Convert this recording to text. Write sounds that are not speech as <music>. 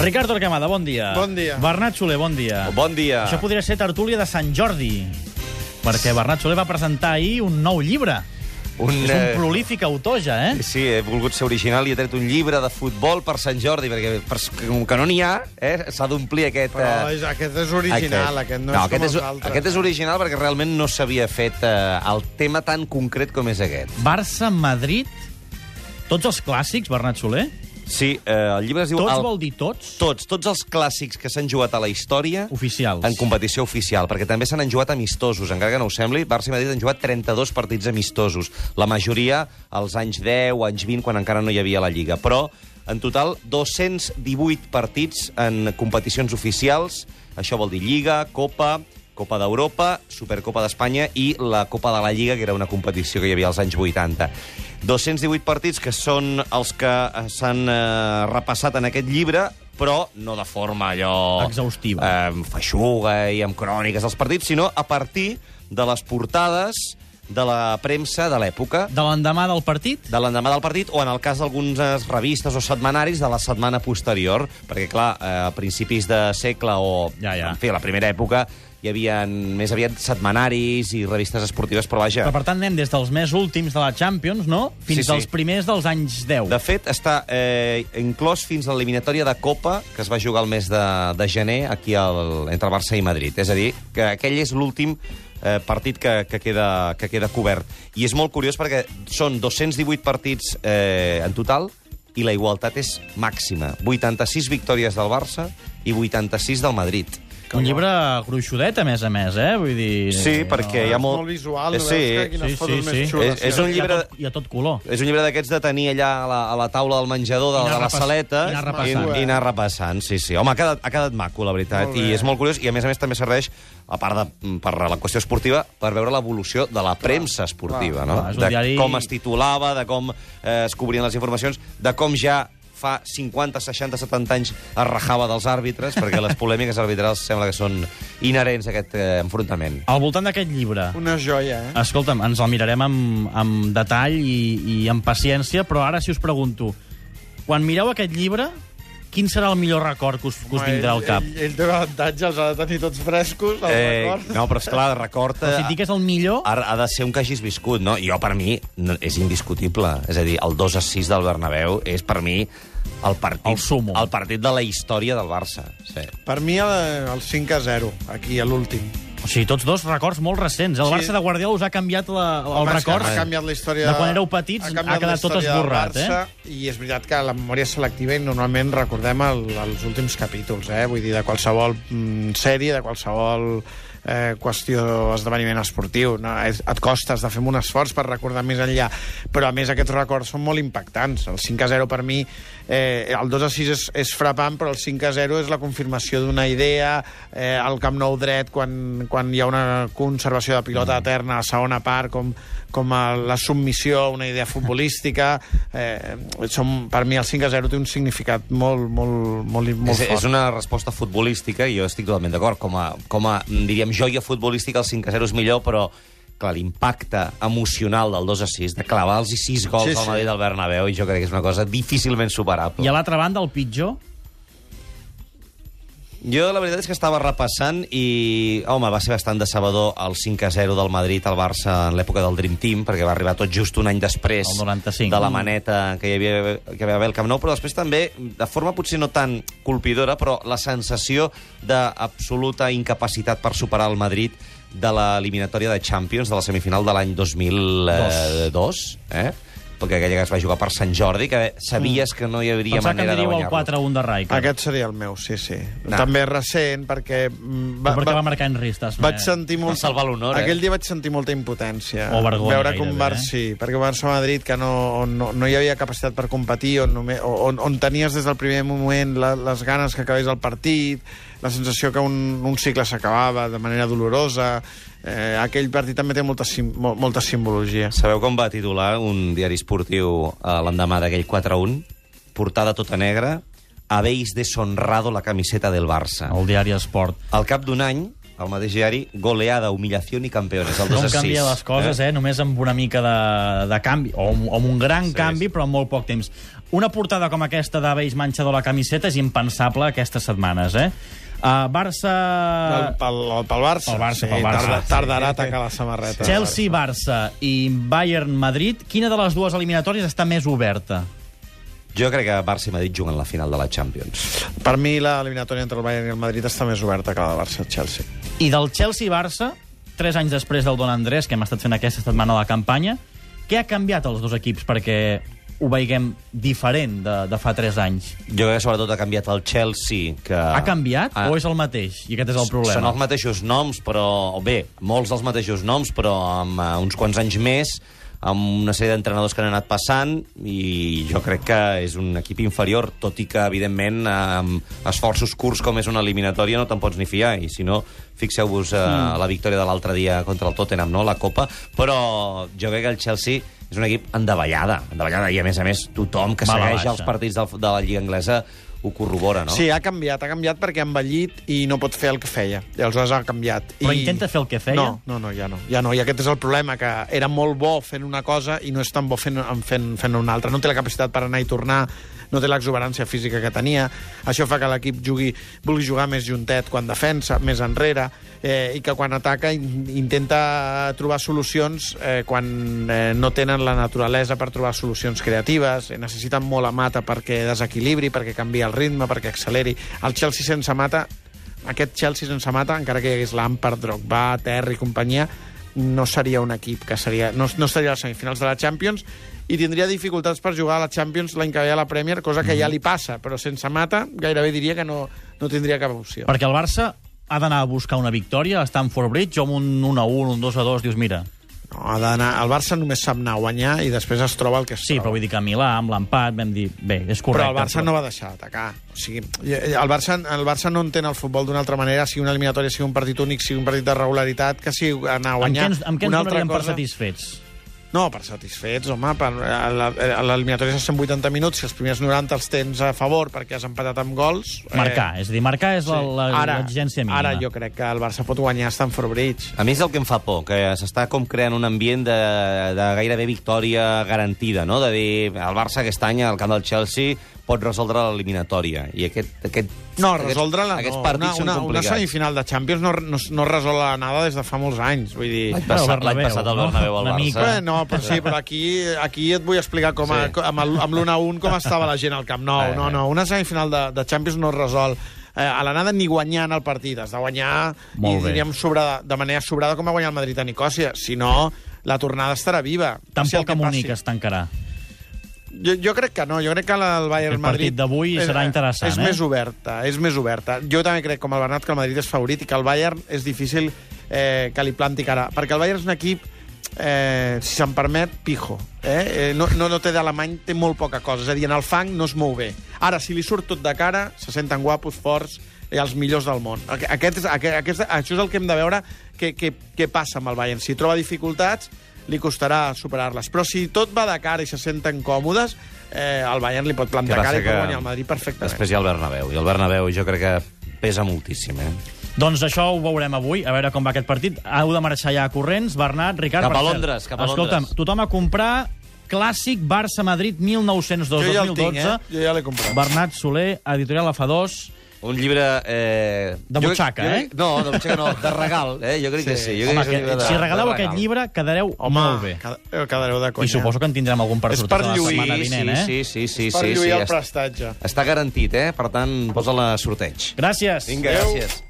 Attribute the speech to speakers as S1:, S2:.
S1: Ricard Torquemada, bon dia.
S2: Bon dia.
S1: Bernat Soler, bon dia.
S3: Ah. Bon dia.
S1: Això podria ser tertúlia de Sant Jordi, perquè Bernat Soler va presentar ahir un nou llibre.
S3: Un,
S1: És un
S3: eh,
S1: prolífic autor, ja, eh?
S3: Sí, he volgut ser original i he tret un llibre de futbol per Sant Jordi, perquè per, com que no n'hi ha, eh, s'ha d'omplir aquest...
S2: Però
S3: eh,
S2: és, aquest és original, aquest, aquest no, és
S3: aquest
S2: com
S3: és,
S2: els altres.
S3: Aquest és original perquè realment no s'havia fet eh, el tema tan concret com és aquest.
S1: Barça, Madrid, tots els clàssics, Bernat Soler?
S3: Sí, eh, el llibre es diu...
S1: Tots
S3: el...
S1: vol dir tots?
S3: Tots, tots els clàssics que s'han jugat a la història...
S1: Oficials.
S3: En competició oficial, perquè també s'han jugat amistosos. Encara que no ho sembli, Barça i Madrid han jugat 32 partits amistosos. La majoria als anys 10, anys 20, quan encara no hi havia la Lliga. Però, en total, 218 partits en competicions oficials. Això vol dir Lliga, Copa, Copa d'Europa, Supercopa d'Espanya i la Copa de la Lliga, que era una competició que hi havia als anys 80. 218 partits que són els que eh, s'han eh, repassat en aquest llibre, però no de forma allò...
S1: Exhaustiva.
S3: Eh, amb feixuga i amb cròniques dels partits, sinó a partir de les portades de la premsa de l'època,
S1: De l'endemà del partit?
S3: de l'endemà del partit, o en el cas d'algunes revistes o setmanaris de la setmana posterior, perquè, clar, eh, a principis de segle o,
S1: Ja, ja.
S3: en fi, a la primera època, hi havia més aviat setmanaris i revistes esportives, però vaja...
S1: Però, per tant, anem des dels més últims de la Champions, no?, fins
S3: Sí, sí.
S1: als primers dels anys 10.
S3: De fet, està eh, inclòs fins a l'eliminatòria de Copa, que es va jugar el mes de, de gener aquí al, entre Barça i Madrid. És a dir, que aquell és l'últim eh, partit que, que, queda, que queda cobert. I és molt curiós perquè són 218 partits eh, en total i la igualtat és màxima. 86 victòries del Barça i 86 del Madrid.
S1: Un llibre gruixudet, a més a més, eh? Vull dir...
S3: Sí, perquè hi ha
S2: És
S3: molt...
S2: molt visual, no
S3: Eh,
S2: veus que
S3: sí,
S2: quines
S1: sí,
S2: fotos
S1: sí,
S2: més
S1: sí.
S2: xules.
S3: És- és un
S1: Hi ha
S3: llibre-
S1: tot- Hi ha tot color.
S3: És un llibre d'aquests de tenir allà a la, a la taula del menjador de,
S1: I anar
S3: de la
S1: repass-
S3: saleta
S1: i anar repassant.
S3: i, i anar repassant. Sí, sí. Home, ha quedat, ha quedat maco, la veritat.
S2: Molt bé.
S3: I és molt curiós. I, a més a més, també serveix, a part de, per la qüestió esportiva, per veure l'evolució de la premsa esportiva, no?
S1: clar, és un
S3: de
S1: diari-
S3: com es titulava, de com eh, es cobrien les informacions, de com ja fa 50, 60, 70 anys es rajava dels àrbitres, perquè les polèmiques arbitrals sembla que són inherents a aquest eh, enfrontament.
S1: Al voltant d'aquest llibre,
S2: Una joia, eh?
S1: Escolta'm, ens el mirarem amb, amb detall i, i amb paciència, però ara si us pregunto, quan mireu aquest llibre, quin serà el millor record que us, que us vindrà al cap?
S2: Ell, ell té un avantatge, els ha de tenir tots frescos, els eh,
S3: Eh,
S2: records.
S3: no, però esclar, recorda...
S2: eh,
S1: Però si et dic que és el millor,
S2: ah.
S3: ha, ha de ser un que hagis viscut, no? Jo, per mi, no, és indiscutible. És a dir, el 2 a 6 del Bernabéu és, per mi, el partit,
S1: El súmum.
S3: el partit de la història del Barça. Sí.
S2: Per mi, el, el 5 a 0, aquí, a l'últim.
S1: o sigui, tots dos records molt recents. El
S2: Sí.
S1: Barça de Guardiola us ha canviat la, el
S2: Home, és que
S1: record.
S2: Ha canviat la història...
S1: De quan éreu petits ha,
S2: canviat la
S1: quedat tot
S2: història del
S1: esborrat, eh?
S2: Barça, I és veritat que la memòria és selectiva i normalment recordem el, els últims capítols, eh? Vull dir, de qualsevol mm, sèrie, de qualsevol eh, qüestió o esdeveniment esportiu. No? És- Et costa, has de fer un esforç per recordar més enllà. Però, a més, aquests records són molt impactants. El 5 a 0 per mi... Eh, el 2 a 6 és, és frapant, però el 5 a 0 és la confirmació d'una idea. Eh, el Camp Nou dret, quan, quan hi ha una conservació de pilota
S3: Mm.
S2: eterna a la segona part, com, com a la submissió a una idea futbolística. <laughs> Eh, som, per mi el 5 a 0 té un significat molt, molt, molt, molt
S3: És,
S2: fort.
S3: és una resposta futbolística i jo estic totalment d'acord. Com, a, com a, mm, diríem, joia futbolística, el 5 a 0 és millor, però clar, l'impacte emocional del 2 a 6, de clavar els 6 gols
S2: Sí,
S3: sí, sí.
S2: sí.
S3: al Madrid del Bernabéu, i jo crec que és una cosa difícilment superable.
S1: I a l'altra banda, el pitjor,
S3: Jo la veritat és que estava repassant i, home, va ser bastant decebedor el 5-0 del Madrid al Barça en l'època del Dream Team, perquè va arribar tot just un any després
S1: El 95.
S3: de la maneta que hi havia que hi va haver al Camp Nou, però després també, de forma potser no tan colpidora, però la sensació d'absoluta incapacitat per superar el Madrid de l'eliminatòria de Champions de la semifinal de l'any 2002, eh? perquè aquella que es va jugar per Sant Jordi, que sabies que no hi hauria
S1: Mm. pensava que em
S3: manera de
S1: diríeu el
S3: guanyar-lo.
S1: 4-1 de Rijkaard.
S2: Aquest seria el meu, sí, sí.
S3: No.
S2: També recent, perquè... mm,
S1: Va, perquè va, marcar Henry eh? Stasman.
S2: Vaig sentir molt...
S3: Va salvar l'honor, eh?
S2: Aquell dia vaig sentir molta impotència.
S1: O vergonya,
S2: Veure com
S1: gairebé,
S2: Bar...
S1: eh?
S2: Sí, perquè Barça a Madrid, que no, on, no, no hi havia capacitat per competir, on, només, on, on tenies des del primer moment la, les ganes que acabés el partit, la sensació que un, un cicle s'acabava de manera dolorosa... Eh, aquell partit també té molta, sim, mol- molta simbologia.
S3: Sabeu com va titular un diari esportiu eh, l'endemà d'aquell 4-1? Portada tota negra, habéis deshonrado la camiseta del Barça.
S1: Oh. El diari Esport.
S3: Al cap d'un any, al mateix diari, goleada, humiliació i campeones, el 2
S1: Com
S3: a 6.
S1: canvia les coses, eh? eh? Només amb una mica de, de canvi, o amb, o amb un gran sí, canvi, però en molt poc temps. Una portada com aquesta de Beis Manchador a la camiseta és impensable aquestes setmanes, eh? Uh,
S2: Pel,
S1: Barça...
S2: pel, pel Barça.
S1: Pel Barça,
S2: sí,
S1: pel Barça.
S2: Tarda, tardarà a tancar la samarreta.
S1: Chelsea, Barça i Bayern Madrid, quina de les dues eliminatòries està més oberta?
S3: eh? Jo crec que Barça i Madrid juguen la final de la Champions.
S2: Per mi, l'eliminatòria entre el Bayern i el Madrid està més oberta que la de Barça-Chelsea.
S1: I del Chelsea-Barça, tres anys després del Don Andrés, que hem estat fent aquesta setmana la campanya, què ha canviat als dos equips perquè ho veiguem diferent de, de fa tres anys?
S3: Jo crec que sobretot ha canviat el Chelsea, que...
S2: Ah.
S1: Ha canviat o és el mateix? I aquest és el
S3: Són
S1: problema.
S3: els mateixos noms, però... O bé, molts dels mateixos noms, però amb eh, uns quants anys més, amb una sèrie d'entrenadors que han anat passant, i jo crec que és un equip inferior, tot i que, evidentment, amb esforços curts com és una eliminatòria no te'n pots ni fiar, i si no, fixeu-vos eh,
S1: Mm.
S3: la victòria de l'altre dia contra el Tottenham, no?, la Copa, però jo crec que el Chelsea és un equip endavellada, endavellada, i a més a més tothom que
S1: Va a la
S3: segueix
S1: baixa.
S3: els partits del, de la Lliga Anglesa ho corrobora, no?
S2: Sí, ha canviat, ha canviat perquè ha envellit i no pot fer el que feia. I aleshores ha canviat.
S1: Però
S2: I...
S1: intenta fer el que feia?
S2: No, no, no, ja no. Ja no. I aquest és el problema, que era molt bo fent una cosa i no és tan bo fent, en fent, fent una altra. No té la capacitat per anar i tornar, no té l'exuberància física que tenia. Això fa que l'equip jugui, vulgui jugar més juntet quan defensa, més enrere, eh, i que quan ataca in, intenta trobar solucions eh, quan eh, no tenen la naturalesa per trobar solucions creatives. Eh, necessiten molt a Mata perquè desequilibri, perquè canvi el ritme, perquè acceleri. El Chelsea sense Mata aquest Chelsea sense mata, encara que hi hagués Lampard, Drogba, Terry i companyia, no seria un equip que seria... No, no estaria a les semifinals de la Champions i tindria dificultats per jugar a la Champions l'any que ve a la Premier, cosa que ja li passa, però sense mata gairebé diria que no, no tindria cap opció.
S1: Perquè el Barça ha d'anar a buscar una victòria a Stamford Bridge o amb un 1-1, un 2-2, dius, mira...
S2: No, ha d'anar... El Barça només sap anar a guanyar i després es troba el que es
S1: Sí, però
S2: troba.
S1: vull dir que a Milà, amb l'empat, vam dir... Bé, és correcte.
S2: però el Barça no va deixar d'atacar. O sigui, el Barça, el Barça no entén el futbol d'una altra manera, sigui una eliminatòria, sigui un partit únic, sigui un partit de regularitat, que sigui anar a
S1: Amb què
S2: guanyar.
S1: ens, amb què ens
S2: Una altra
S1: donaríem per
S2: cosa-
S1: satisfets?
S2: No, per satisfets, home, per, a la- a l'eliminatòria se 180 minuts, si els primers 90 els tens a favor perquè has empatat amb gols...
S1: Marcar, és a dir, marcar és
S2: Eh, sí.
S1: la-
S2: Ara-
S1: l'exigència mínima.
S2: Ara jo crec que el Barça pot guanyar a Stamford Bridge.
S3: A mi és el que em fa por, que s'està com creant un ambient de, de gairebé victòria garantida, no? De dir, el Barça aquest any al camp del Chelsea pot resoldre l'eliminatòria. I aquest... aquest
S2: No,
S3: aquests-
S2: resoldre-la no.
S3: Aquests
S2: Una,
S3: partits
S2: una,
S3: són
S2: una
S3: complicats.
S2: semifinal de Champions no, no, no resol la nada des de fa molts anys. Vull dir,
S3: L'any
S1: Bueno,
S3: passat,
S1: Bernabéu,
S3: l'any passat el
S1: no?
S3: Bernabéu al
S1: Una
S3: Barça.
S1: mica.
S2: Bé, no, però sí, però aquí, aquí et vull explicar com a,
S3: Sí.
S2: sí. amb el- amb l'1-1 com estava la gent al Camp Nou.
S1: Ah,
S3: Eh,
S2: No,
S3: eh.
S2: no, una semifinal de, de Champions no es resol eh, a l'anada ni guanyant el partit. Has de guanyar
S1: Molt
S2: i
S1: bé.
S2: diríem sobrada, de manera sobrada com va guanyar el Madrid a Nicòsia. Si no, la tornada estarà viva. Passi el
S1: Tampoc
S2: que
S1: a
S2: passi.
S1: Munic es tancarà.
S2: Jo, jo crec que no, jo crec que la- el Bayern
S1: El partit
S2: Madrid...
S1: d'avui
S2: eh,
S1: serà interessant,
S2: És
S1: eh?
S2: més oberta, és més oberta. Jo també crec, com el Bernat, que el Madrid és favorit i que el Bayern és difícil eh, que li planti cara. Perquè el Bayern és un equip, eh, si se'n permet, pijo. Eh? Eh, no, no, no té d'alemany, té molt poca cosa. És a dir, en el fang no es mou bé. Ara, si li surt tot de cara, se senten guapos, forts i els millors del món. Aqu- Aquest, és- aquest, aquest, això és el que hem de veure què que, que passa amb el Bayern. Si troba dificultats, li costarà superar-les. Però si tot va de cara i se senten còmodes, eh, el Bayern li pot
S3: Que
S2: plantar
S3: passa
S2: cara i pot
S3: que
S2: guanyar el Madrid perfectament.
S3: Després hi ha el Bernabéu. I el Bernabéu jo crec que pesa moltíssim, eh?
S1: Doncs això ho veurem avui, a veure com va aquest partit. Heu de marxar ja corrents, Bernat, Ricard...
S3: Cap a
S1: per cert,
S3: Londres, cap a
S1: Escolta'm,
S3: Londres.
S1: tothom a comprar clàssic Barça-Madrid 1902-2012.
S2: Jo ja el tinc, eh? Jo ja l'he comprat.
S1: Bernat Soler, editorial AFA2.
S3: Un llibre... Eh...
S1: De
S3: jo-
S1: butxaca,
S3: jo,
S1: eh?
S3: crec- No, de butxaca no, de regal, eh? Jo crec que sí. Jo
S1: Home,
S3: crec que és un
S1: que,
S3: llibre de-
S1: si
S3: de
S1: regaleu
S3: regal.
S1: aquest llibre, quedareu
S2: Home,
S1: molt bé.
S2: ca- eh, quedareu de conya.
S1: I suposo que en tindrem algun per
S2: És
S1: sortir
S2: per
S1: la
S2: lluir,
S1: setmana
S3: sí,
S1: vinent, eh?
S3: sí, sí, sí,
S2: per
S3: sí, sí,
S2: lluir el
S3: està-
S2: prestatge.
S3: Està garantit, eh? Per tant, posa-la a sorteig.
S1: Gràcies.
S3: Vinga, gràcies.